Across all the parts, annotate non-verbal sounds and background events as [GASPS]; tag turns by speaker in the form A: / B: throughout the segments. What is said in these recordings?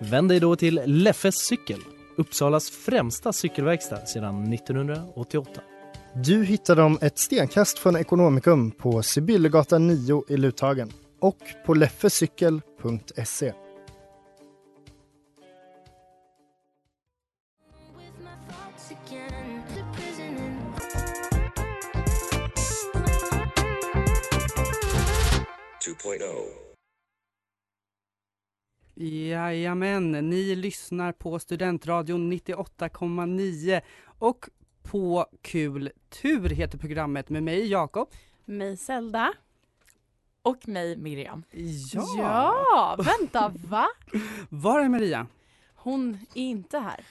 A: Vänd dig då till Leffes cykel, Uppsalas främsta cykelverkstad sedan 1988.
B: Du hittar dem ett stenkast från Ekonomikum på Sibyllegatan 9 i Luthagen och på leffecykel.se.
C: Jajamän, ni lyssnar på Studentradion 98,9 och På kul tur heter programmet med mig Jakob.
D: Mig Zelda.
E: Och mig Miriam.
D: ja! Vänta, va?
C: Var är Maria?
D: Hon är inte här.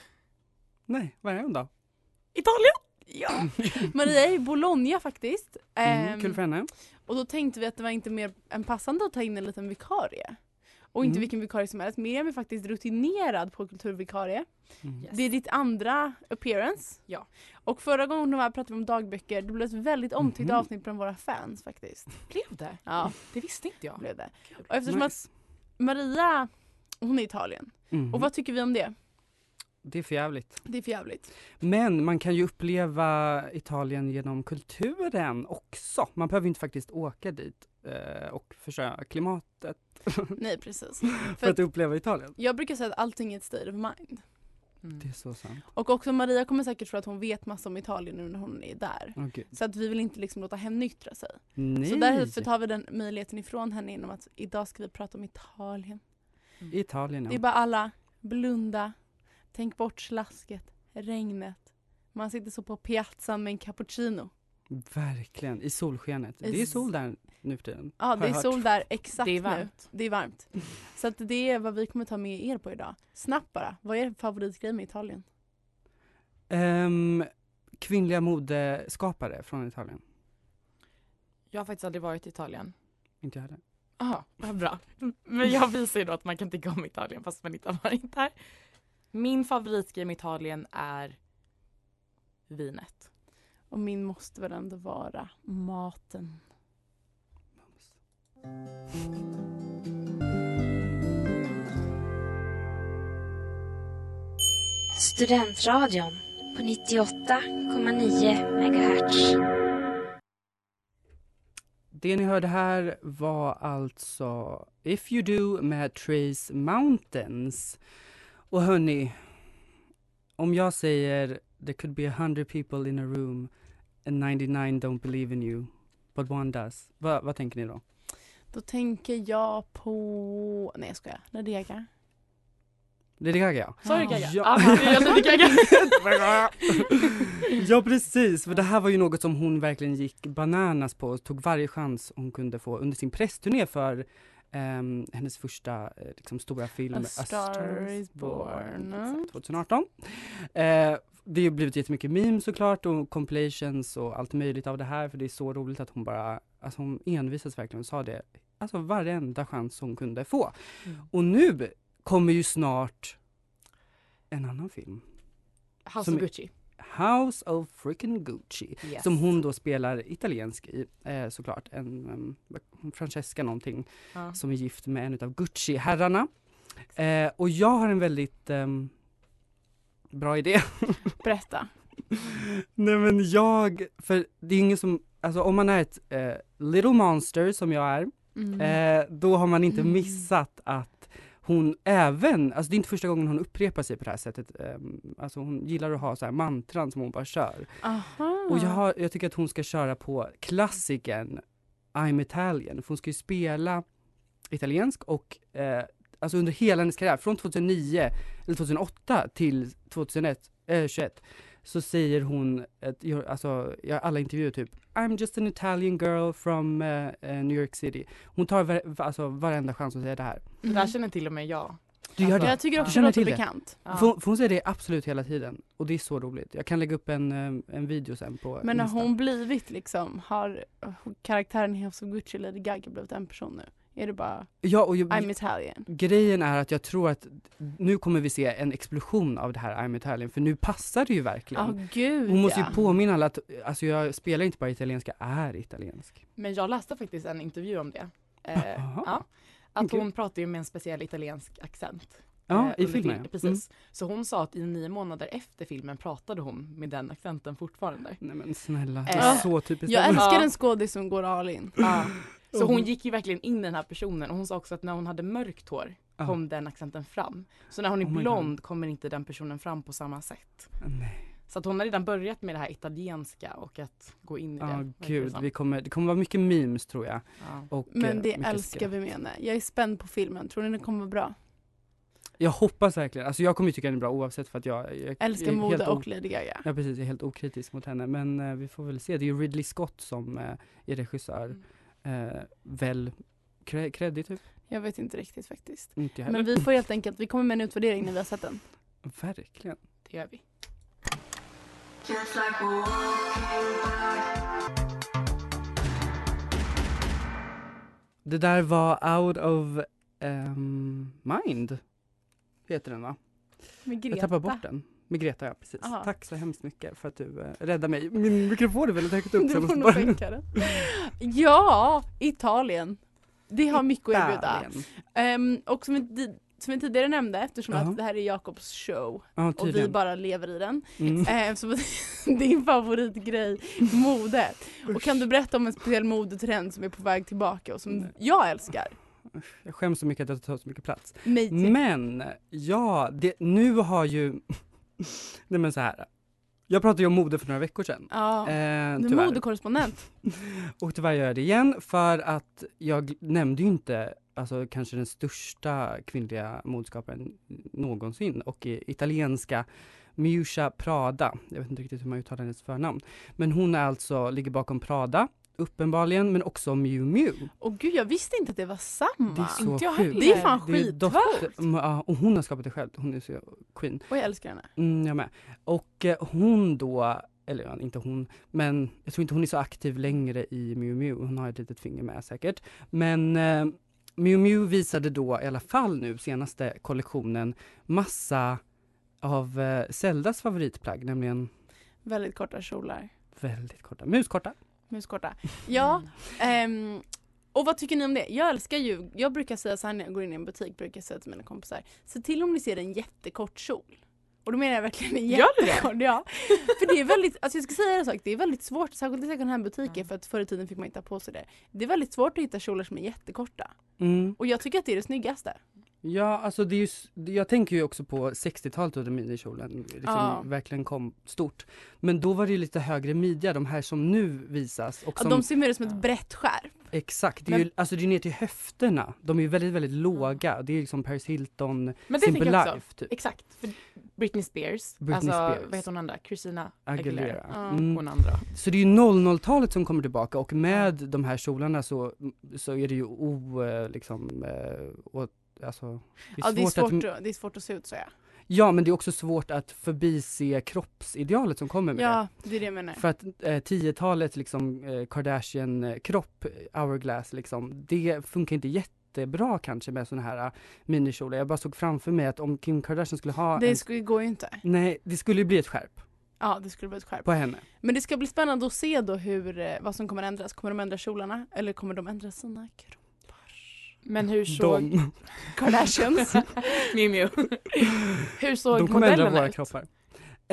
C: Nej, var är hon då? Mhm,
D: Italien! Ja! Maria är i Bologna faktiskt.
C: Mm,
D: Ehm,
C: kul för henne.
D: och då tänkte vi att det var inte mer än passande att ta in en liten vikarie. Och inte
C: Mm.
D: vilken vikarie som helst. Miriam är faktiskt rutinerad på kulturvikarie.
C: Mm.
E: Yes.
D: Det är ditt andra appearance.
E: Ja.
D: Och förra gången hon var här pratade vi om dagböcker. Det blev ett väldigt omtyckt
C: Mhm.
D: avsnitt bland våra fans faktiskt.
E: Blev det?
D: Ja,
E: Det visste inte jag.
D: blev det. Och eftersom att
C: Nice.
D: Maria, hon är i Italien.
C: Mhm.
D: Och vad tycker vi om det?
C: Det är för jävligt.
D: Det är för jävligt.
C: Men man kan ju uppleva Italien genom kulturen också. Man behöver ju inte faktiskt åka dit eh, och förstöra klimatet [LAUGHS]
D: Nej precis.
C: för att uppleva Italien.
D: Jag brukar säga att allting är ett state of mind.
E: Mm.
C: Det är så sant.
D: Och också Maria kommer säkert tro att hon vet massa om Italien nu när hon är där.
C: Åh, gud.
D: Så att vi vill inte liksom låta henne yttra sig.
C: Nej.
D: Så därför tar vi den möjligheten ifrån henne genom att idag ska vi prata om Italien.
C: Italien,
D: Det är
C: ja.
D: bara alla blunda, tänk bort slasket, regnet. Man sitter så på piazzan med en cappuccino.
C: Verkligen, i solskenet. Det är
D: Is-
C: sol där nu för tiden.
D: Ja,
C: har
D: det är
C: jag hört.
D: sol där exakt
E: Det är
D: nu.
E: varmt.
D: Det är varmt. Så att det är vad vi kommer ta med er på idag. Snabbt bara, vad är er favoritgrej med Italien?
C: Ehm, kvinnliga modeskapare från Italien.
E: Jag har faktiskt aldrig varit i Italien.
C: Inte jag heller.
E: Jaha, vad bra. Men jag visar ju då att man kan tycka om Italien fast man inte har varit där. Min favoritgrej med Italien är vinet.
D: Och min måste väl ändå vara maten.
F: Studentradion på 98,9 MHz.
C: Det ni hörde här var alltså If You Do med Trace Mountains. Och hörni, om jag säger There could be a hundred people in a room and 99 don't believe in you, but one does. Va, vad tänker ni då?
D: Då tänker jag på... Nej jag skojar, Lady Gaga.
C: Lady Gaga ja.
E: Sa du Gaga?
C: Ja.
E: Ah, det är jag som är [LAUGHS] Gaga.
C: Ja precis, för det här var ju något som hon verkligen gick bananas på och tog varje chans hon kunde få under sin pressturné för ehm, hennes första eh, liksom, stora film
D: A Star is Born.
C: exakt, 2018. Eh, det har ju blivit jättemycket memes såklart och compilations och allt möjligt av det här för det är så roligt att hon bara, alltså hon envisas verkligen och sa det, alltså varenda chans hon kunde få.
D: Mm.
C: Och nu kommer ju snart en annan film.
E: House
C: Som-
E: of Gucci.
C: House of freaking Gucci.
E: Yes.
C: Som hon då spelar italiensk i eh, såklart. En, em, vad- Francesca någonting
E: Ja.
C: som är gift med en av Gucci-herrarna. Eh, och jag har en väldigt em, bra idé. [LAUGHS]
D: Berätta.
C: Nej men jag, för det är ingen som, alltså om man är ett eh, little monster som jag är, eh, då har man inte
E: Mm.
C: missat att hon även, alltså det är inte första gången hon upprepar sig på det här sättet, em, alltså hon gillar att ha så här mantran som hon bara kör.
D: Aha.
C: Och jag, har, jag tycker att hon ska köra på klassikern I'm Italian, för hon ska ju spela italiensk och eh, alltså under hela hennes karriär, från 2009 eller 2008 till 2001, eh, 21 så säger hon, ett, gör- alltså i alla intervjuer typ I'm just an Italian girl from eh, eh, New York City. Hon tar var, alltså, varenda chans att säga det här.
E: Det där känner till och med jag
C: Du gör det?
D: Jag tycker också
C: känner
D: det låter
C: till det?
D: bekant.
E: Ja.
C: För, hon- för hon säger det absolut hela tiden och det är så roligt. Jag kan lägga upp en, eh, en video sen på
D: Men har
C: Insta.
D: hon blivit liksom, har karaktären i House of Gucci, Lady Gaga blivit en person nu? Är det bara
C: Ja och jag,
D: I'm Italian?
C: grejen är att jag tror att nu kommer vi se en explosion av det här I'm Italian för nu passar det ju verkligen.
D: Ja gud
C: hon måste ju
D: ja.
C: påminna alla att alltså jag spelar inte bara italienska, jag är italiensk.
E: Men jag läste faktiskt en intervju om det. Eh,
C: Aha.
E: ja, att
C: Kul.
E: hon pratar ju med en speciell italiensk accent.
C: Ja,
E: eh,
C: i filmen
E: under film-
C: ja. Mm.
E: Precis. Så hon sa att i nio månader efter filmen pratade hon med den accenten fortfarande.
C: Mm. Nej men snälla, det
D: Eh,
C: är så typiskt.
D: Jag
C: dem.
D: älskar
E: Ja.
D: en skådis som går all in.
E: Ja. Så hon gick ju verkligen in i den här personen och hon sa också att när hon hade mörkt hår
C: Ja.
E: kom den accenten fram. Så när hon är
C: Oh my God.
E: blond kommer inte den personen fram på samma sätt.
C: Nej.
E: Så att hon har redan börjat med det här italienska och att gå in i det.
C: Ja
E: verkar det
C: gud,
E: som.
C: vi kommer, det kommer vara mycket memes tror jag.
E: Ja.
C: Och, eh,
D: Men det
C: mycket
D: älskar vi med henne. Jag är spänd på filmen, tror ni den kommer vara bra?
C: Jag hoppas verkligen, alltså jag kommer ju tycka den är bra oavsett för att jag, jag
D: Älskar
C: jag är
D: mode
C: helt o-
D: och Lady Gaga.
C: Ja precis, jag är helt okritisk mot henne men eh, vi får väl se. Det är ju Ridley Scott som eh, är regissör.
D: Mm.
C: Eh, väl kre- creddig typ?
D: Jag vet inte riktigt faktiskt.
C: Inte jag heller. Mm,
D: Men vi får helt enkelt, vi kommer med en utvärdering när vi har sett den.
C: Verkligen.
E: Det gör vi.
C: Det där var Out of ehm, Mind, heter den va?
D: Med Greta.
C: Jag tappar bort den. Med Greta ja, precis.
D: Aha.
C: Tack så hemskt mycket för att du eh, räddade mig. Min mikrofon är väldigt högt upp. så
D: Du
C: jag
D: får
C: måste
D: nog
C: bara-
D: skänka den. Ja, Italien. Det har mycket att erbjuda.
C: Italien.
D: Ehm, och som vi, ti- som vi tidigare nämnde, eftersom
C: Jaha.
D: att det här är Jakobs show
C: Ja,
D: och vi
C: tydligen.
D: bara lever i
C: [LAUGHS]
D: den.
C: Mm.
D: Ehm, så [LAUGHS] din favoritgrej, mode. Och kan du berätta om en speciell modetrend som är på väg tillbaka och som
C: Nej.
D: jag älskar?
C: Jag skäms så mycket att jag tar så mycket plats.
D: Mig till.
C: Men ja, det, nu har ju, [LAUGHS] nej men så här. Jag pratade ju om mode för några veckor sedan.
D: Ja,
C: Eh,
D: du är
C: tyvärr.
D: modekorrespondent.
C: Och tyvärr gör jag det igen för att jag gl- nämnde ju inte alltså kanske den största kvinnliga modskaparen någonsin och i italienska Miusha Prada. Jag vet inte riktigt hur man uttalar hennes förnamn. Men hon är alltså, ligger bakom Prada uppenbarligen men också Miu Miu.
D: Och gud jag visste inte att det var samma.
C: Det är så
E: inte jag
C: sjukt.
E: heller.
D: Det är fan
C: Det är dotter-
D: skitcoolt.
C: Mm, ja, och hon har skapat det själv, hon är så queen.
D: Och jag älskar henne.
C: Mm, jag med. Och eh, hon då, eller ja, inte hon, men jag tror inte hon är så aktiv längre i Miu Miu. Hon har ett litet finger med säkert. Men eh, Miu Miu visade då i alla fall nu senaste kollektionen massa av eh, Zeldas favoritplagg, nämligen
D: Väldigt korta kjolar.
C: väldigt korta, muskorta.
D: Muskorta. Ja. ehm, och vad tycker ni om det? Jag älskar ju, jag brukar säga så här när jag går in i en butik, brukar jag säga till mina kompisar, se till om ni ser en jättekort kjol. Och då menar jag verkligen en
E: Gör du det?
D: jättekort. Ja. För det är väldigt, alltså jag ska säga en sak, det är väldigt svårt, särskilt i second hand-butiker
E: Mm.
D: för att förr i tiden fick man inte ha på sig det. Det är väldigt svårt att hitta kjolar som är jättekorta.
C: Mm.
D: Och jag tycker att det är det snyggaste.
C: Ja, alltså det är ju, s- jag tänker ju också på 60-talet då den midjekjolen liksom
D: Ja.
C: verkligen kom stort. Men då var det ju lite högre midja, de här som nu visas. Och
D: Ja,
C: som,
D: de ser mer ut som ett brett skärp.
C: Exakt, det är
D: Men-
C: ju, alltså det är ner till höfterna. De är ju väldigt, väldigt låga. Det är liksom Paris Hilton,
E: Men det
C: Simple
E: tänker jag också.
C: Life typ.
E: Exakt. För Britney Spears,
C: Britney
E: alltså
C: Spears.
E: vad heter hon andra? Christina Aguilera.
C: Aguilera.
D: Ja.
C: Mm.
E: Hon andra.
C: Så det är ju 00-talet som kommer tillbaka och med de här kjolarna så, så är det ju o, eh, liksom, eh, åt, alltså. Det är
D: Ja det är, svårt
C: att,
D: att, det är svårt att se ut så ja.
C: ja men det är också svårt att förbise kroppsidealet som kommer med det.
D: Ja det är det jag menar.
C: För att eh, 10-talet liksom eh, Kardashian-kropp, eh, hourglass liksom, det funkar inte jättebra kanske med såna här eh, minikjolar. Jag bara såg framför mig att om Kim Kardashian skulle ha
D: Det
C: en...
D: skulle, går ju inte.
C: Nej, det skulle ju bli ett skärp
D: Ja det skulle bli ett skärp.
C: på henne.
D: Men det ska bli spännande att se då hur, eh, vad som kommer ändras. Kommer de ändra kjolarna eller kommer de ändra sina kroppar?
E: Men
C: [LAUGHS]
E: hur såg
C: De, [LAUGHS]
D: Kardashians.
E: Miu Miu? Hur såg
C: de kommer ändra
E: modellerna
C: våra
E: ut
C: kroppar.
E: som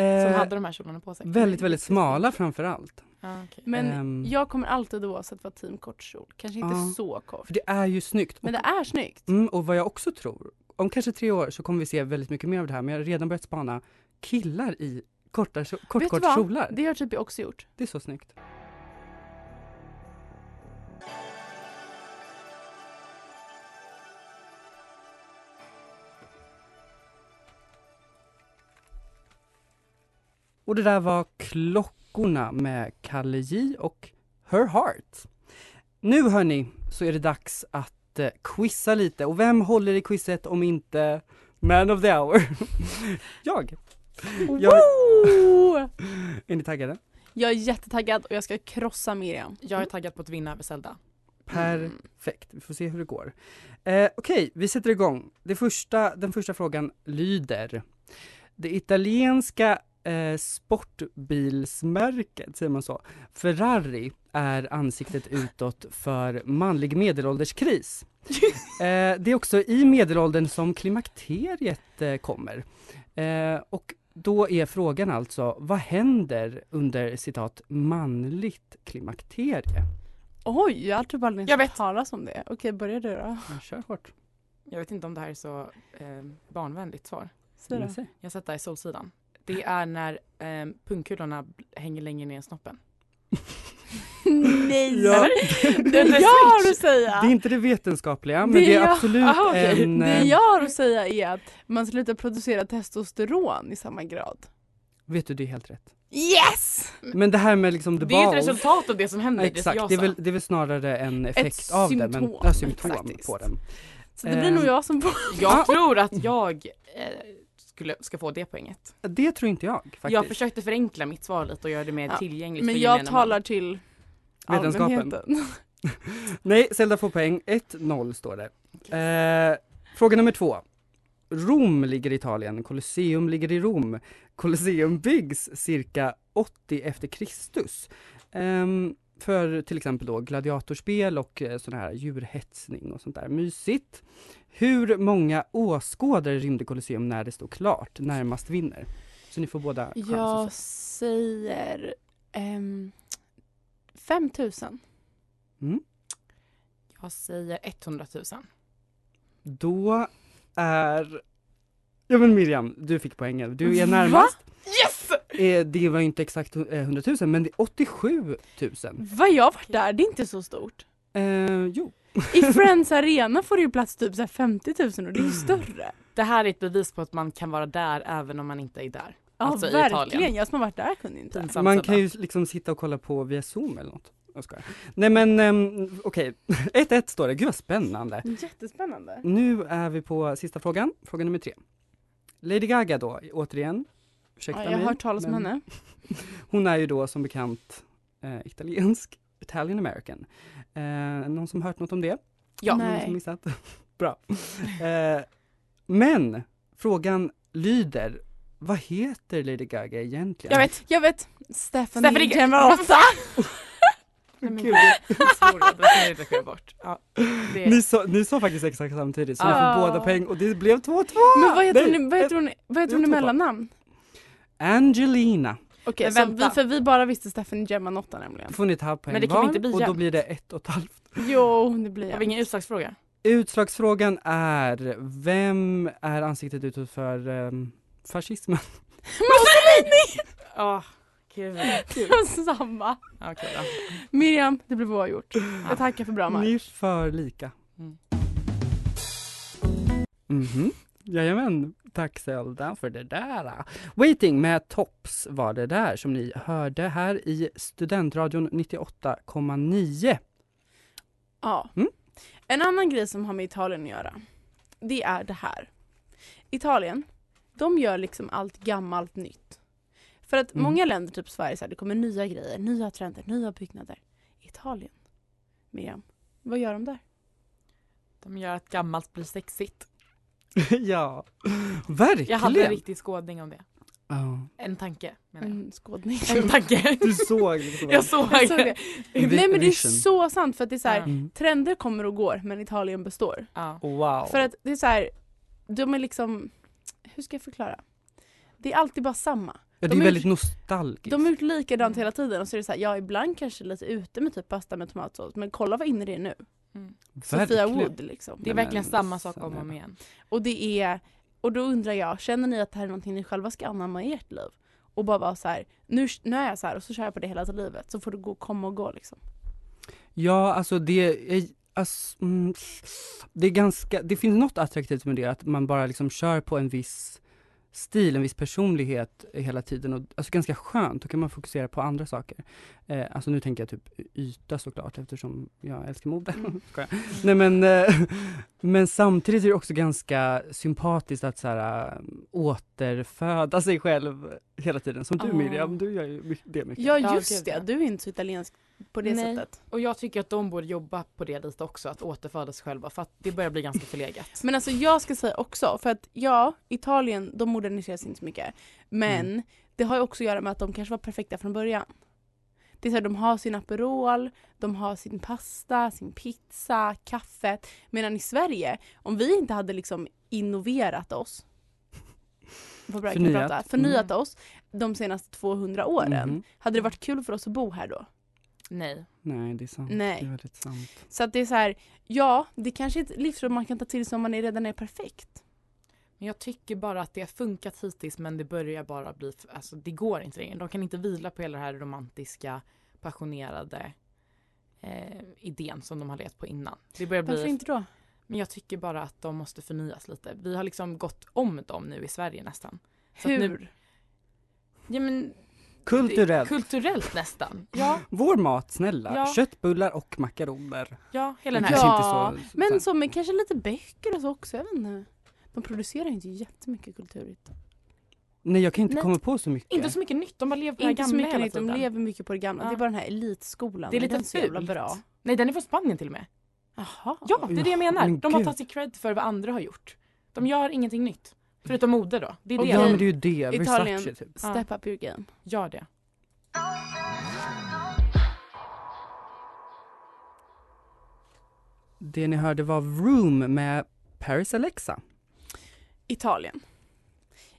C: Eh,
E: hade de här kjolarna på sig?
C: väldigt, väldigt smala framför allt.
E: Ja, Ah, okej.
D: Men
C: Ehm.
D: jag kommer alltid oavsett vara team kort kjol. Kanske inte
C: Ja.
D: så kort.
C: För det är ju snyggt.
D: Men det är snyggt.
C: Mm, och vad jag också tror, om kanske tre år så kommer vi se väldigt mycket mer av det här, men jag har redan börjat spana killar i korta, kjo- kort,
D: Vet du
C: kort
D: vad?
C: kjolar.
D: Det har typ jag också gjort.
C: Det är så snyggt. Och det där var Klockorna med Kalle J och Her Heart. Nu hörni så är det dags att eh, quizza lite och vem håller i quizet om inte Man of the hour. [LAUGHS] jag. jag
D: Woo!
C: är ni taggade?
D: Jag är jättetaggad och jag ska krossa Miriam. Mm.
E: Jag
C: Mm.
E: är taggad på att vinna över Zelda.
C: Perfekt, vi får se hur det går. Eh, Okej, vi sätter igång. Det första, den första frågan lyder. Det italienska eh, sportbilsmärket, säger man så, Ferrari är ansiktet utåt för manlig medelålderskris. Eh, det är också i medelåldern som klimakteriet eh, kommer. Eh, och då är frågan alltså, vad händer under citat manligt klimakterie?
D: Oj, jag har typ aldrig
E: Jag
D: ens hört talas om det. Okej, börja du då.
C: Jag kör hårt.
E: Jag vet inte om det här är så eh, barnvänligt svar.
D: Säg då.
C: Men se.
E: Jag har sett det här i Solsidan. Det är när eh, pungkulorna bl- hänger längre ner i snoppen.
D: Nej!
C: Ja. [LAUGHS]
D: Det jag har att säga!
C: Det är inte det vetenskapliga, men
D: Det
C: det,
D: är
C: är
D: jag- Ah,
C: absolut
E: Aha, okej.
C: en...
D: Det
C: eh,
D: jag har att säga är att man slutar producera testosteron i samma grad.
C: Vet du, det är helt rätt.
D: Yes!
C: Men det här med liksom the
E: Det är ju ett
C: balls-
E: resultat av det som händer.
C: Exakt,
E: jag
C: det är,
E: sa.
C: väl, det är väl snarare en effekt
D: Ett
C: av det. Men,
D: symptom,
C: ja, symptom
D: faktiskt.
C: på den.
D: Så det blir
C: Ehm,
D: nog jag som får...
E: Jag tror att jag eh, skulle, ska få det poänget.
C: Det tror inte jag faktiskt.
E: Jag försökte förenkla mitt svar lite och göra det mer
D: Ja,
E: tillgängligt
D: Men
E: för
D: jag
E: gemene
D: talar till
C: Vetenskapen.
D: allmänheten.
C: Nej, Zelda får poäng. 1-0 står det. Eh, fråga nummer två. Rom ligger i Italien, Colosseum ligger i Rom. Colosseum byggs cirka 80 efter Kristus. Ehm, för till exempel då gladiatorspel och eh, sån här djurhetsning och sånt där. Mysigt. Hur många åskådare rymde Colosseum när det stod klart? Närmast vinner. Så ni får båda chans
D: Jag
C: att säga.
D: säger... Um, 5000.
C: Mm.
E: man. Jag säger 100 000.
C: Då är... Ja men Miriam, du fick poängen. Du är närmast.
E: Yes!
C: Eh, det var ju inte exakt hu- eh, 100 000 men det är 87 000.
D: Vad jag har varit där, det är inte så stort.
C: Eh, jo. [LAUGHS]
D: I Friends Arena får det ju plats typ så här 50 000 och det är ju större.
E: Det här är ett bevis på att man kan vara där även om man inte
C: [LAUGHS]
E: är där.
D: Ja
E: Alltså i
D: verkligen,
E: Italien.
D: jag som har varit där kunde inte.
E: Pinsamt
C: Man
E: Zelda.
C: kan ju liksom sitta och kolla på via zoom eller något. Jag skojar. Nej men ehm, okej, [LAUGHS] 1-1 står det. Gud vad spännande.
D: Jättespännande.
C: Nu är vi på sista frågan, fråga nummer tre. Lady Gaga då, återigen. Ursäkta
D: Ja, jag har
C: mig,
D: hört talas om
C: men
D: henne.
C: Hon är ju då som bekant eh, italiensk, Italian American. Eh, någon som hört något om det?
E: Ja.
C: Någon
D: Nej.
C: som missat? [LAUGHS] Bra. Eh, men frågan lyder, vad heter Lady Gaga egentligen?
E: Jag vet!
D: Jag vet, Stephanie,
E: Stephanie Ge-
D: Generata.
E: Nej, men gud, jag svor det. Det kan jag inte skämma bort. Ja, det
C: Ni sa, ni sa faktiskt exakt samtidigt, så ni
D: Ah.
C: får båda poäng och det blev 2-2!
D: Men vad heter
C: Nej,
D: hon, vad heter hon, vad heter
C: jag
D: hon i
C: tror på.
D: mellannamn?
C: Angelina.
D: Okej,
E: Men
D: så
E: vänta.
D: vi, för vi bara visste Stephanie Germanotta nämligen.
C: Då får ni ta poäng
E: Men det kan vi
C: var,
E: inte bli
C: och då
E: jämnt.
C: blir det ett och ett halvt.
D: Jo, det blir [LAUGHS]
E: Jag har ingen
D: jag.
E: utslagsfråga.
C: Utslagsfrågan är, vem är ansiktet utåt för ehm, fascismen?
D: Mussolini!
E: Ja, kul.
D: [LAUGHS] Samma.
E: Ja, Okej då.
D: Miriam, det blev oavgjort. Jag tackar för bra
C: Ni är
D: match.
C: för lika.
E: Mm.
C: Mhm. Jajamän, tack Zelda för det där. Waiting med Tops var det där som ni hörde här i Studentradion 98,9.
D: Ja.
C: Mm.
D: En annan grej som har med Italien att göra, det är det här. Italien, de gör liksom allt gammalt nytt. För att
C: Mm.
D: många länder, typ Sverige, så här, det kommer nya grejer, nya trender, nya byggnader. Italien, Miriam, vad gör de där?
E: De gör att gammalt blir sexigt.
C: ja, verkligen.
E: Jag hade en riktig skådning om det.
C: Ja.
E: En tanke menar jag.
D: En skådning.
E: En tanke.
C: Mm. Du såg liksom.
E: [LAUGHS] Jag såg.
D: Jag såg det. Nej men det är
C: Vision.
D: så sant för att det är så här,
E: Ja.
C: Mm.
D: trender kommer och går men Italien består.
E: Ja.
C: Wow.
D: För att det är så här, de är liksom, hur ska jag förklara? Det är alltid bara samma.
C: ja, det
D: de
C: är
D: är-
C: väldigt nostalgiskt.
D: De har gjort
E: Mm.
D: likadant hela tiden och så är det så här, ja ibland kanske lite ute med typ pasta med tomatsås men kolla vad inne det är nu. Sofia
C: Verkligen.
D: Wood liksom.
E: Det är
C: Nej,
E: verkligen
C: men
E: samma sak om och
C: snälla.
E: om igen.
D: Och det är, och då undrar jag, känner ni att det här är någonting ni själva ska anamma i ert liv? Och bara vara så här, nu, nu är jag så här och så kör jag på det hela livet så får du gå, komma och gå liksom.
C: Ja, alltså det är, ass- mm, det är ganska, det finns något attraktivt med det, att man bara liksom kör på en viss stil, en viss personlighet eh, hela tiden och alltså ganska skönt, då kan man fokusera på andra saker. Eh, alltså nu tänker jag typ yta såklart eftersom jag älskar mode.
D: Mm,
C: [LAUGHS] Skojar. Nej men, eh, men samtidigt är det också ganska sympatiskt att så här, eh, återföda sig själv hela tiden. Som du
E: Ah.
C: Miriam, du gör ju my- det mycket.
D: Ja,
E: Ja,
D: just
E: gud,
D: det.
E: ja.
D: Du är inte så italiensk på det
E: Nej.
D: sättet.
E: Och jag tycker att de borde jobba på det lite också, att återföda sig själva för att det börjar bli
D: [LAUGHS]
E: ganska förlegat.
D: Men alltså jag ska säga också, för att ja, Italien, de moderniseras inte så mycket. Men
E: Mm.
D: det har ju också att göra med att de kanske var perfekta från början. Det är så här, de har sin Aperol, de har sin pasta, sin pizza, kaffet. Medan i Sverige, om vi inte hade liksom innoverat
E: [LAUGHS]
D: oss, vad bra jag kan
C: Förnyat.
D: prata, förnyat
E: Mm.
D: oss de senaste 200 åren,
C: Mhm.
D: hade det varit kul för oss att bo här då?
E: Nej.
C: Nej, det är sant.
D: Nej.
C: Det är väldigt sant.
D: Så att det är så här, ja, det kanske är ett livsråd man kan ta till sig om man är, redan är perfekt.
E: Men jag tycker bara att det har funkat hittills men det börjar bara bli, f- alltså det går inte längre. De kan inte vila på hela den här romantiska, passionerade eh, idén som de har levt på innan. Det börjar
D: Varför
E: bli,
D: inte då?
E: men jag tycker bara att de måste förnyas lite. Vi har liksom gått om dem nu i Sverige nästan. Så att
D: Hur?
E: Nu, ja, men,
C: Kulturellt.
E: Kulturellt nästan. Ja,
C: Vår mat, snälla.
E: Ja.
C: Köttbullar och makaroner.
E: ja hela den
C: Det
E: här.
C: kanske
D: Ja,
C: inte så,
D: Men
C: sant.
D: som är kanske lite böcker och så också, jag vet inte. De producerar ju inte jättemycket kultur.
C: Nej, jag kan inte
E: Nej.
C: komma på så mycket.
E: Inte så mycket nytt, de bara lever på det här
D: Inte så
E: gamla
D: mycket
E: hela
D: nytt, de
E: tiden.
D: lever mycket på det gamla.
E: Ja.
D: Det är bara den här elitskolan.
E: Det är lite
D: den så jävla
E: fult.
D: bra.
E: Nej, den är från Spanien till och med.
D: Jaha.
E: Ja, det är det jag menar.
C: Men
E: De har
C: gud.
E: tagit sig cred för vad andra har gjort. De gör ingenting nytt. Förutom mode då. Det är det.
D: Okej.
C: Ja men det är ju det,
D: Italien.
C: Versace typ.
D: Step up your game.
E: Gör det.
C: Det ni hörde var Room med Paris Alexa.
D: Italien.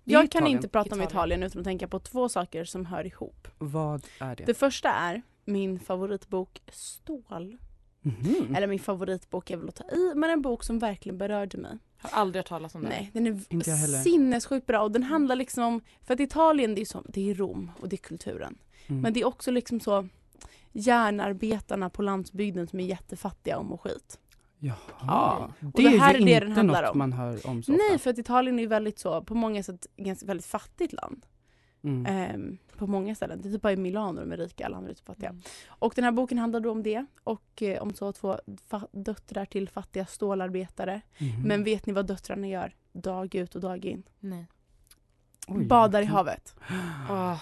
C: Det är
D: Jag kan
C: Italien.
D: inte prata om
E: Italien.
D: Italien utan att tänka på två saker som hör ihop.
C: Vad är det?
D: Det första är min favoritbok Stål.
C: Mhm.
D: Eller min favoritbok är väl att ta i, men en bok som verkligen berörde mig.
E: Har aldrig hört talas om det.
D: Nej, den
C: Inte jag
D: är
C: heller.
D: sinnessjukt bra och den handlar liksom om, för att Italien det är, ju som, det är Rom och det är kulturen.
C: Mm.
D: Men det är också liksom så järnarbetarna på landsbygden som är jättefattiga om och skit.
C: Jaha.
D: Ja.
C: Det,
D: det här
C: är
D: är
C: ju
D: det den
C: inte
D: handlar
C: något
D: om.
C: man hör om så
D: Nej,
C: ofta.
D: för att Italien är ju väldigt så, på många sätt, ganska väldigt fattigt land.
C: Mm.
D: Ehm, på många ställen. Det är typ bara i Milano de är rika, alla andra är typ
C: Mm.
D: fattiga. Och den här boken handlar då om det och eh, om så två fa- döttrar till fattiga stålarbetare.
C: Mhm.
D: Men vet ni vad döttrarna gör? Dag ut och dag in.
E: Nej.
C: Oj,
D: Badar i
C: vilken- [GASPS]
D: havet.
C: Ah,
E: Åh,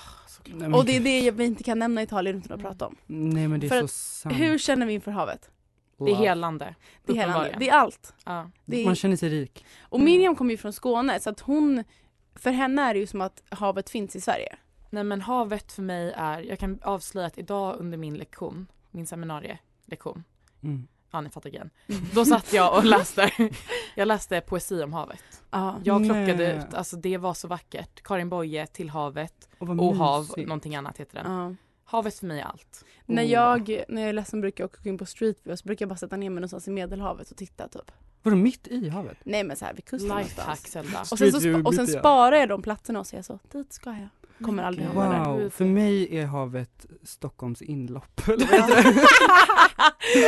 C: Nej, men
D: Och det är
C: gud. Mm.
D: det jag- vi inte kan nämna Italien utan att prata om.
C: Nej men det är
D: För
C: så
D: att-
C: sant.
D: Hur känner vi inför havet?
E: det är
C: Wow.
E: helande.
D: Det är, hela,
E: Uppenbarligen.
D: det är allt.
E: Ja.
D: det är-
C: Man känner sig rik.
D: Och
E: Mm.
D: Miriam kommer ju från Skåne så att hon, för henne är det ju som att havet finns i Sverige.
E: Nej men havet för mig är, jag kan avslöja att idag under min lektion, min seminarielektion,
C: Mm.
E: ja ni fattar grejen.
D: [LAUGHS]
E: Då satt jag och läste, jag läste poesi om havet.
D: Ja.
E: Jag
C: Nej.
E: klockade ut, alltså det var så vackert. Karin Boye, Till havet,
C: Och, vad
E: och hav,
C: mysigt.
E: någonting annat heter den.
D: Ja.
E: Havet för mig är allt.
D: När,
C: Oh.
D: jag, när jag är ledsen brukar jag också gå in på Street View och så brukar jag bara sätta ner mig någonstans i Medelhavet och titta typ.
C: Vadå mitt i havet?
D: Nej men så här vid kusten
E: Lifehack
D: någonstans. [LAUGHS]
E: Zelda.
D: Och sen, så,
C: Street View
D: spa- och sen
C: mitt i, ja.
D: sparar jag de platserna och säger så, dit ska jag. Kommer
E: Mm.
D: aldrig hamna där.
C: Wow, för mig är havet Stockholms inlopp. [LAUGHS]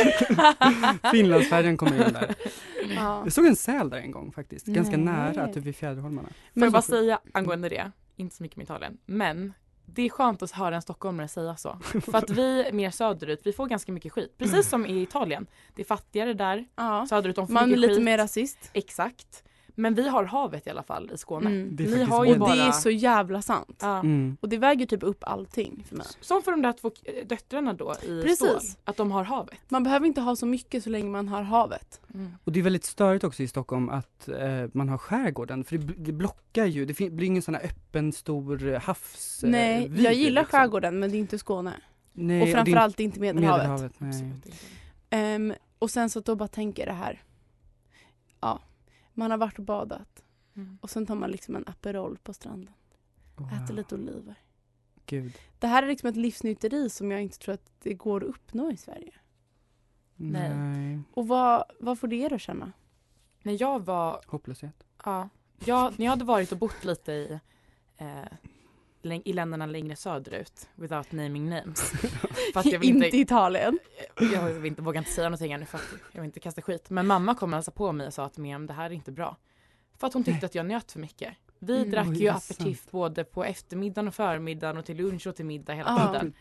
D: [LAUGHS]
C: Finlandsfärjan kommer in där.
D: Ja.
C: Jag såg en säl där en gång faktiskt, ganska
D: Nej.
C: nära, typ vid Fjäderholmarna.
E: Får jag bara
C: Alltså,
E: säga angående det, inte så mycket med Italien, men det är skönt att höra en stockholmare säga så. För att vi mer söderut, vi får ganska mycket skit. Precis som i Italien. Det är fattigare där,
D: Ja.
E: söderut, de får
D: Man är
E: mycket
D: lite
E: skit.
D: mer rasist.
E: Exakt. Men vi har havet i alla fall i Skåne.
D: Mm.
C: Det är
E: Ni
C: faktiskt
E: har ju
C: sant.
E: bara...
D: Det är så jävla sant.
E: Ja.
C: Mm.
D: Och det väger typ upp allting för mig.
E: Som för de där två eh, döttrarna då i
D: Precis.
E: Stål, att de har havet. Mm.
D: Man behöver inte ha så mycket så länge man har havet.
C: Och det är väldigt störigt också i Stockholm att eh, man har skärgården, för det, bl- det blockar ju, det fin- blir ingen sån här öppen stor eh, havs... eh,
D: Nej,
C: vy
D: jag gillar
C: liksom.
D: skärgården men det är inte Skåne.
C: Nej,
D: och
C: det är
D: framförallt inte
C: inte
D: Medelhavet.
C: nej.
E: Absolut inte.
D: Ehm, och sen så att då bara tänker jag det här. Ja, man har varit och badat
E: Mm.
D: och sen tar man liksom en Aperol på stranden.
C: Wow,
D: Äter lite oliver.
C: Gud.
D: Det här är liksom ett livsnytteri som jag inte tror att det går att uppnå i Sverige.
E: Nej.
C: Nej.
D: Och vad, vad får det er att känna?
E: När jag var
C: Hopplöshet.
E: Ja, jag, när jag hade varit och bott lite i, eh, läng- i länderna längre söderut, without naming names. För att
D: [LAUGHS]
E: jag vill inte,
D: Italien.
E: jag vill inte, vågar inte säga någonting ännu för att jag vill inte kasta skit. Men mamma kom och hälsade på mig och sa att Miriam det här är inte bra. För att hon tyckte att jag njöt för mycket. Vi
D: Mm.
E: drack
C: Oj, det
E: ju
C: är
E: aperitif både på eftermiddagen och förmiddagen och till lunch och till middag hela
C: Ah.
D: Ja.
E: tiden.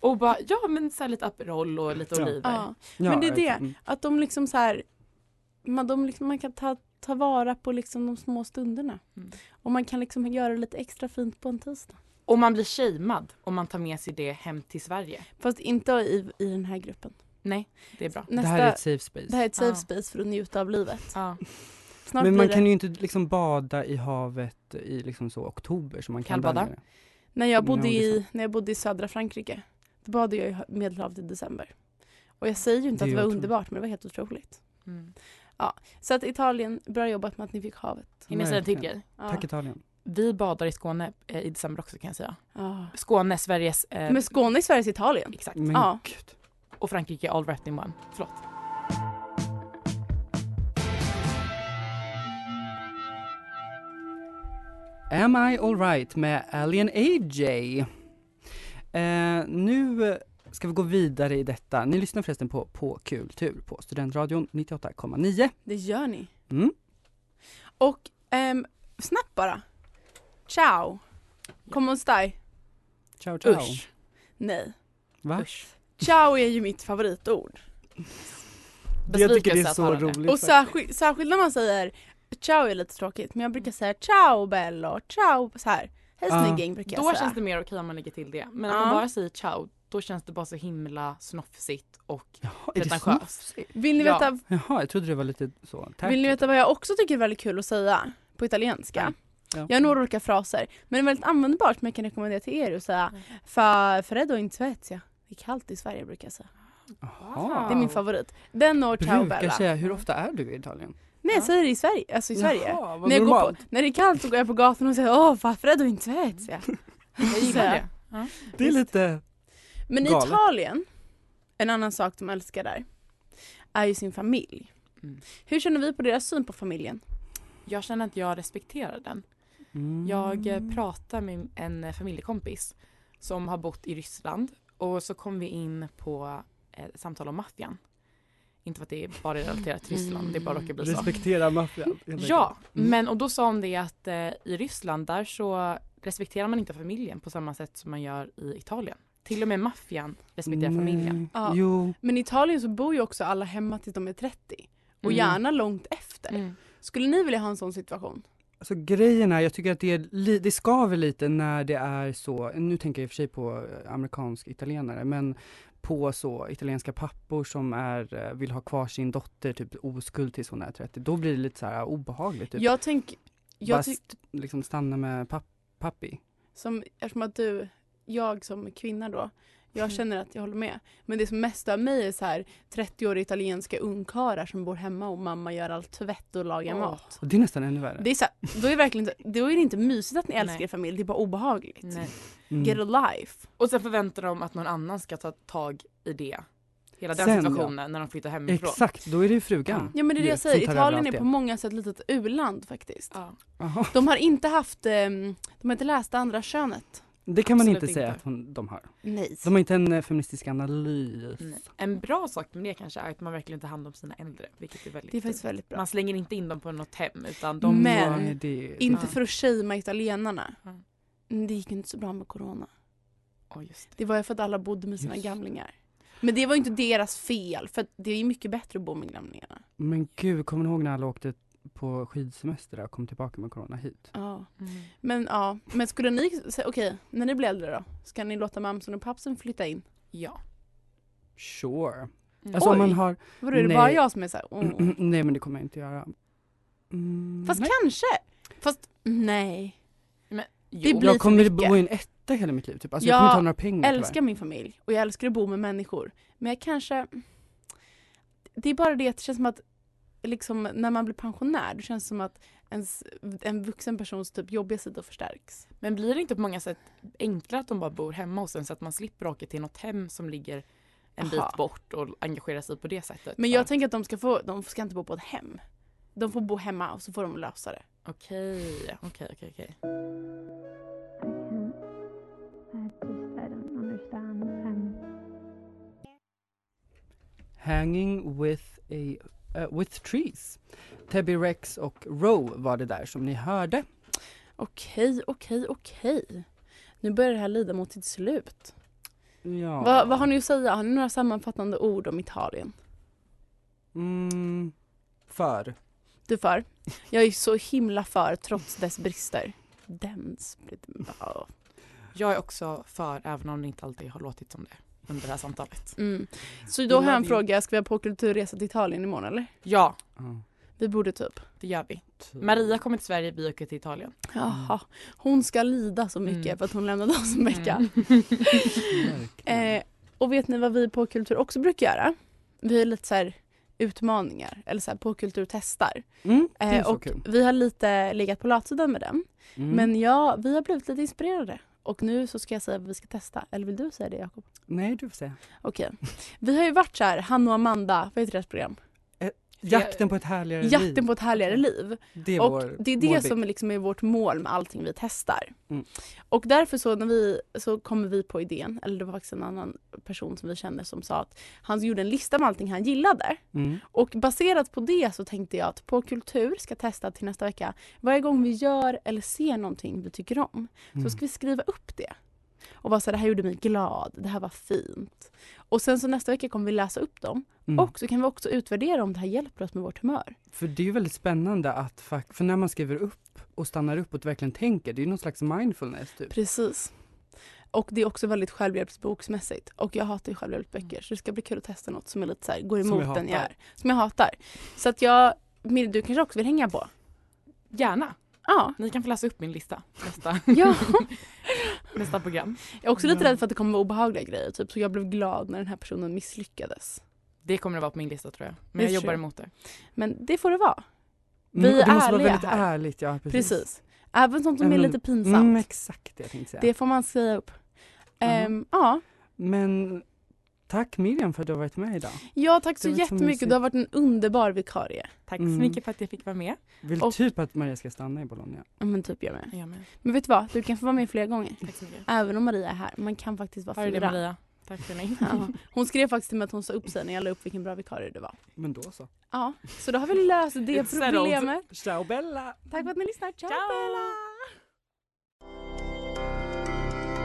E: Och bara, ja men så här lite Aperol och lite
C: [LAUGHS] Ja.
E: oliver.
D: Ja. Ah. Men det är det. Att de liksom så här, man, de liksom, man kan ta, ta vara på liksom de små stunderna.
E: Mm.
D: Och man kan liksom göra lite extra fint på en tisdag.
E: Och man blir shamead om man tar med sig det hem till Sverige.
D: Fast inte i, i den här gruppen.
E: Nej, det är bra.
D: Nästa,
C: det här är ett safe space.
D: ett safe
E: Ja.
D: space för att njuta av livet.
E: Ja.
D: Snart
C: men
D: blir
C: man
D: det.
C: kan ju inte liksom bada i havet i liksom så oktober som man kan
E: Kallbada?
C: bada.
D: När jag,
C: Jo,
D: bodde
C: det är
D: i, när jag bodde i södra Frankrike, då badade jag i hö- Medelhavet i december. Och jag säger ju inte
C: Det
D: att
C: är
D: det var
C: otroligt.
D: underbart, men det var helt otroligt.
E: Mm.
D: Så att Italien, bra jobbat med att ni fick havet.
E: Kan jag säga en till
C: Verkligen.
E: grej?
D: Ja.
C: Tack Italien.
E: Vi badar i Skåne eh, i december också kan jag säga.
D: Ja.
E: Skåne, Sveriges... Eh,
D: Men Skåne är Sveriges Italien.
E: exakt.
C: Men
D: Ja.
C: gud.
E: Och Frankrike all wrapped in one. Förlåt.
C: Am I alright med Alien AJ? Eh, nu eh, ska vi gå vidare i detta. Ni lyssnar förresten på På Kultur på Studentradion 98,9.
D: Det gör ni.
C: Mm.
D: Och ehm, snabbt bara. Ciao. Come on stai.
C: Ciao ciao.
E: Usch.
D: Nej.
C: Va?
D: Ciao är ju mitt favoritord.
B: Jag tycker det är
E: Besvikelse att
B: så
E: höra det.
B: roligt.
D: Och särskilt, särskilt när man säger ciao är lite tråkigt men jag
C: Mm.
D: brukar säga ciao bello, ciao så här. Hej
C: Ja.
D: snygging brukar jag
E: Då
D: säga.
E: känns det mer okej om man lägger till det. Men
D: Ja.
E: om man bara säger ciao, då känns det bara så himla snofsigt och
C: Jaha, är det så?
E: pretentiöst.
D: Vill, ni
E: Ja.
D: veta,
C: Jaha, jag trodde det var lite så. Tack.
D: vill ni veta vad jag också tycker är väldigt kul att säga på italienska?
C: Ja.
D: Jag har några olika fraser men det är väldigt användbart som jag kan rekommendera till er att säga.
C: Mm.
D: Fa freddo in Svezia. Det är kallt i Sverige brukar jag säga.
C: Jaha.
D: Det är min favorit. Den och ciao
C: Brukar
D: bella.
C: säga, hur ofta är du i Italien?
D: Nej jag säger det i Sverige, alltså i Sverige.
C: Jaha, vad
D: När, jag går på,
C: normalt.
D: när det är kallt så går jag på gatan och säger åh Fafredo in
C: [LAUGHS]
D: Svezia.
E: Jag gillar det.
C: Det är lite...
D: Men i
C: Galet.
D: Italien, en annan sak de älskar där, är ju sin familj.
E: Mm.
D: Hur känner vi på deras syn på familjen?
E: Jag känner att jag respekterar den.
C: Mm.
E: Jag eh, pratade med en eh, familjekompis som har bott i Ryssland och så kom vi in på eh, samtal om maffian. Inte för att det är bara relaterat till Ryssland, det bara råkar bli
C: Mm.
E: så.
B: Respektera maffian.
E: Ja, men och då sa hon det att eh, i Ryssland där så respekterar man inte familjen på samma sätt som man gör i Italien. Till och med maffian respekterar familjen.
C: Nej.
D: Ja.
C: Mm. Jo.
D: Men i Italien så bor ju också alla hemma tills de är 30 och
E: Mm.
D: gärna långt efter.
E: Mm.
D: Skulle ni vilja ha en sån situation?
C: Alltså grejen är, jag tycker att det, är li, det skaver lite när det är så, nu tänker jag i och för sig på eh, amerikansk italienare, men på så italienska pappor som är, eh, vill ha kvar sin dotter typ oskuld tills hon är 30, då blir det lite så här obehagligt. Typ.
D: Jag tänker,
C: Bara
D: jag tyck,
C: st- liksom stanna med papp, pappi.
D: som, eftersom att du, jag som kvinna då,
E: Mm.
D: jag känner att jag håller med. Men det som mest stör mig är så här 30-åriga italienska ungkarlar som bor hemma och mamma gör all tvätt och lagar
E: Åh.
D: mat.
C: Och det är nästan ännu värre.
D: Det är så här, då, är det verkligen, inte- då är det inte mysigt att ni älskar
E: Nej.
D: er familj, det är bara obehagligt.
E: Nej.
C: Mm.
D: Get a life.
E: Och sen förväntar de att någon annan ska ta tag i det. Hela den
C: Sen,
E: situationen när de flyttar hemifrån.
C: Exakt, då är det ju frugan.
D: Ja men det är det jag
C: som
D: säger,
C: tar över
D: Italien
C: allt
D: är
C: det.
D: på många sätt ett litet u-land faktiskt.
E: Ja.
C: Jaha,
D: De har inte haft, ehm, de har inte läst det andra könet.
C: Det kan man
E: Absolut
C: inte säga
E: inte.
C: att hon, de har.
D: Nej.
C: De har inte en eh, feministisk analys.
E: Nej. En bra sak med det kanske är att man verkligen tar hand om sina äldre. Vilket är väldigt
D: Det är faktiskt väldigt bra.
E: Man slänger inte in dem på något hem utan
C: Mm.
E: de
D: Men-
C: Nej, det är-
D: Inte
E: Ja.
D: för att shamea italienarna.
E: Ja.
D: Men Det gick ju inte så bra med corona.
E: Åh, just det.
D: Det var ju för att alla bodde med sina
C: Just.
D: gamlingar. Men det var ju inte deras fel, för att det är ju mycket bättre att bo med gamlingarna.
C: Men gud, kommer ni ihåg när alla åkte på skidsemester och kom tillbaka med corona hit?
D: Ja.
E: Mm.
D: Men ja, men skulle ni, sä- okej, när ni blir äldre då, ska ni låta mamsen och pappsen flytta in?
E: Ja.
C: Sure.
E: Mm.
C: Alltså om
D: Oj.
C: man har,
D: Vadå är det
C: Nej.
D: bara jag som är såhär, oh.
C: nej men det kommer jag inte göra. Mm,
D: Fast
C: nej.
D: kanske. Fast nej.
E: Jo.
D: blir för
C: jag kommer
D: mycket.
C: bo i en etta hela mitt liv typ. Alltså,
D: Ja,
C: jag kommer inte ha några pengar
D: Jag älskar min familj och jag älskar att bo med människor. Men jag kanske... Det är bara det att det känns som att liksom, när man blir pensionär, det känns som att ens, en vuxen persons typ jobbiga sida förstärks.
E: Men blir det inte på många sätt enklare att de bara bor hemma hos en så att man slipper åka till något hem som ligger en
D: Aha.
E: bit bort och engagera sig på det sättet?
D: Men
E: Så.
D: jag tänker att de ska, få, de ska inte bo på ett hem. De får bo hemma och så får de lösa det.
E: Okej, okej, okej, okej.
C: Hanging with, a, uh, eh, with trees. Tebby Rex och Row var det där som ni hörde.
D: Okej, okej, okej. Nu börjar det här lida mot sitt slut.
C: Ja.
D: Vad, vad har ni att säga? Har ni några sammanfattande ord om Italien?
C: Mm, för.
D: Du för? Jag är så himla för trots dess brister. Dens...
E: Jag är också för, även om det inte alltid har låtit som det under det här samtalet.
D: Mm. Så då
E: Vi
D: har jag en
E: love you.
D: fråga. Ska vi ha på kulturresa till Italien imorgon eller?
E: Ja,
C: Ja.
D: Vi borde typ.
E: det gör vi. Maria kommer till Sverige, vi åker till
D: [LAUGHS]
E: Italien.
D: Jaha. Mm. Hon ska lida så mycket
E: Mm.
D: för att hon lämnade oss en vecka.
C: Verkligen.
D: Eh, och vet ni vad vi på kultur också brukar göra? Vi har lite så här utmaningar eller så här på kultur testar.
C: Mm, det är
D: Eh,
C: så
D: och
C: kul.
D: vi har lite legat på latsidan med den.
C: Mm.
D: Men ja, vi har blivit lite inspirerade. Och nu så ska jag säga vad vi ska testa. Eller vill du säga det Jakob?
C: Nej, du får säga.
D: Okej. Vi har ju varit så här, han och Amanda, vad heter deras program?
C: Jakten på ett härligare
D: Jakten
C: liv.
D: på ett härligare liv.
C: Det är
D: Och
C: vår,
D: det är
C: vår
D: det
C: bit.
D: som liksom är vårt mål med allting vi testar.
C: Mm.
D: Och därför så, när vi, så kommer vi på idén, eller det var faktiskt en annan person som vi kände som sa att han gjorde en lista med allting han gillade.
C: Mm.
D: Och baserat på det så tänkte jag att på kultur ska testa till nästa vecka. Varje gång vi gör eller ser någonting vi tycker om
C: Mm.
D: så ska vi skriva upp det. Och vara så här, det här gjorde mig glad, det här var fint. Och sen så nästa vecka kommer vi läsa upp dem
C: Mm.
D: och så kan vi också utvärdera om det här hjälper oss med vårt humör.
C: För det är ju väldigt spännande att, fak- för när man skriver upp och stannar upp och verkligen tänker, det är ju någon slags mindfulness typ.
D: Precis. Och det är också väldigt självhjälpsboksmässigt. Och jag hatar ju självhjälpsböcker så det ska bli kul att testa något som är lite så här, går
C: Mm. Som jag
D: emot den jag
C: hatar.
D: är. Som jag hatar. Så att jag, Mir, du kanske också vill hänga på?
E: Gärna,
D: Ja.
E: ni kan få läsa upp min lista nästa,
D: [LAUGHS] ja.
E: [LAUGHS] nästa program.
D: Jag är också lite
C: Ja.
D: rädd för att det kommer vara obehagliga grejer. Typ, så jag blev glad när den här personen misslyckades.
E: Det kommer det vara på min lista tror jag,
D: Det
E: men jag
D: tror
E: jobbar
D: jag.
E: emot det.
D: Men det får det vara.
C: Mm,
D: Vi
C: och det
D: är
C: måste vara
D: ärliga
C: väldigt
D: här.
C: ärligt, ja precis.
D: Precis. Även sånt som är
C: Även om-
D: lite pinsamt.
C: Mm, exakt det jag tänkte säga.
D: Det får man säga upp.
C: Ja.
D: Ehm, ja.
C: Men tack Miriam för att du har varit med idag.
D: ja, tack så
C: Det var så
D: jättemycket.
C: mysigt.
D: Du har varit en underbar vikarie.
E: Tack
C: Mm.
E: så mycket för att jag fick vara med.
C: Vill
D: Och-
C: typ att Maria ska stanna i Bologna.
D: Ja, Men typ jag med.
E: Jag med.
D: Men vet du vad? Du kan få vara med fler gånger.
E: Tack så mycket.
D: Även om Maria är här. Man kan faktiskt vara
E: Har du det
D: fyra.
E: Maria? Tack för mig.
D: [LAUGHS] Ja. Hon skrev faktiskt till mig att hon sa upp sig när jag la upp vilken bra vikarie du var.
C: Men då så.
D: Ja, så då har vi löst det
E: It's settled.
D: problemet.
C: Ciao Bella!
D: Tack för att ni lyssnar. Ciao,
E: Ciao.
D: Bella!